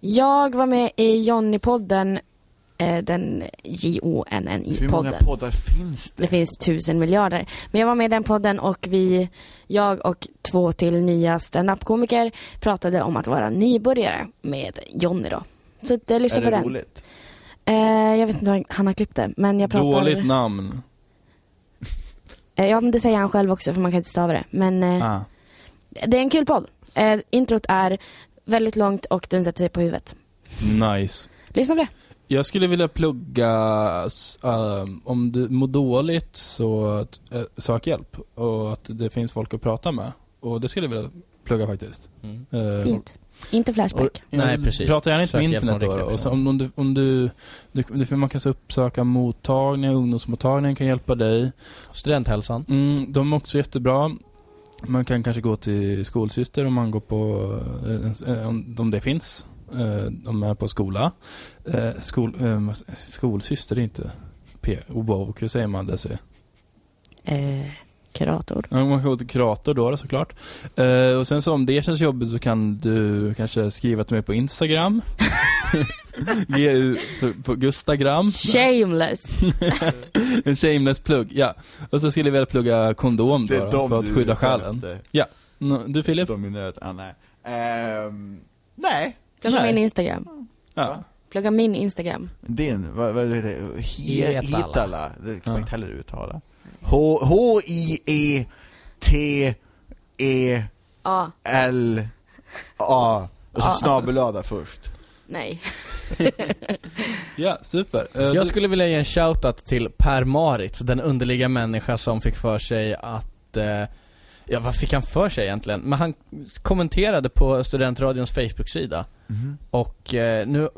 jag var med i Jonny-podden, eh, den Hur många J-O-N-N-I-podden. poddar finns det? Det finns tusen miljarder. Men jag var med i den podden och vi, jag och två till nya standup-komiker pratade om att vara nybörjare med Jonny då. Så att, eh, lyssna är på det den. roligt? Eh, jag vet inte vad han har klippt det, men jag pratar... Dåligt namn. Eh, ja, men det säger han själv också för man kan inte stava det. Men eh, Ah. det är en kul podd. Eh, introt är väldigt långt och den sätter sig på huvudet. Nice. Lyssna på det. Jag skulle vilja plugga, s- ehm, om du mår dåligt så att, eh, sök hjälp. Och att det finns folk att prata med. Och det skulle jag vilja plugga faktiskt. Mm. Eh, Fint. Inte Flashback. Ja, Nej, precis. Prata gärna inte Sök med hjälp internet från då. riktiga Och så om, om du, om du, du, du, för man kan så uppsöka mottagningar, ungdomsmottagningen kan hjälpa dig. Studenthälsan. Mm, de är också jättebra. Man kan kanske gå till skolsyster om man går på, eh, eh, om, om det finns. Eh, de är på skola. Eh, skol, eh, vad s- skolsyster är inte PO, hur säger man det? Sig? Eh, kurator. Ja, Man kan gå till kurator då såklart. Eh, och sen så om det känns jobbigt så kan du kanske skriva till mig på Instagram. GU, så på Gustagram. Shameless. En shameless plugg, ja. Och så skulle jag vilja plugga kondom Det då, är då de för att du skydda är ute själen. efter. Nå, Du Filip? De är nöd. Ah, nej. Ehm, nej. Plugga Nej. min Instagram. Ja. Plugga min Instagram. Din, vad, vad heter det? He- Hietala. Hitala. Det kan Ja. man inte heller uttala. H- H-I-E-T-E-L Ja, A. Och Ah. så Ja. snabelada först. nej. ja, super. Eh, Jag då- skulle vilja ge en shoutout till Per Maritz, den underliga människa som fick för sig att eh, Ja, vad fick han för sig egentligen? Men han kommenterade på Studentradions Facebook-sida och eh, nu,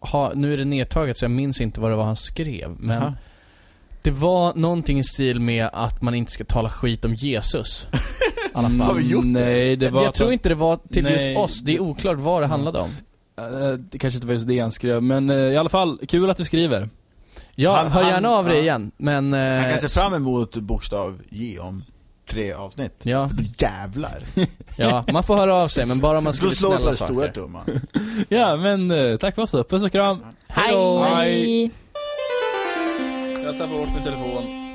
ha, nu är det nedtaget så jag minns inte vad det var han skrev. Men Jaha. det var någonting i stil med att man inte ska tala skit om Jesus. I alla Mm, fall. Har vi gjort det? Nej, det var jag tror inte det var till Nej. just oss, det är oklart vad det handlade Mm. om. Eh, det kanske inte var just det han skrev, men eh, i alla fall, kul att du skriver. Ja, Han- hör han- gärna av dig ja. igen, men... eh, Man kan se fram emot bokstav J om tre avsnitt. Ja. För då jävlar. Ja, man får höra av sig men bara om man Då skriver slår snälla man stora saker. tumman. Ja, men eh, tack för oss då. Puss och kram. Hej då. Hej. Jag tappar bort min telefon.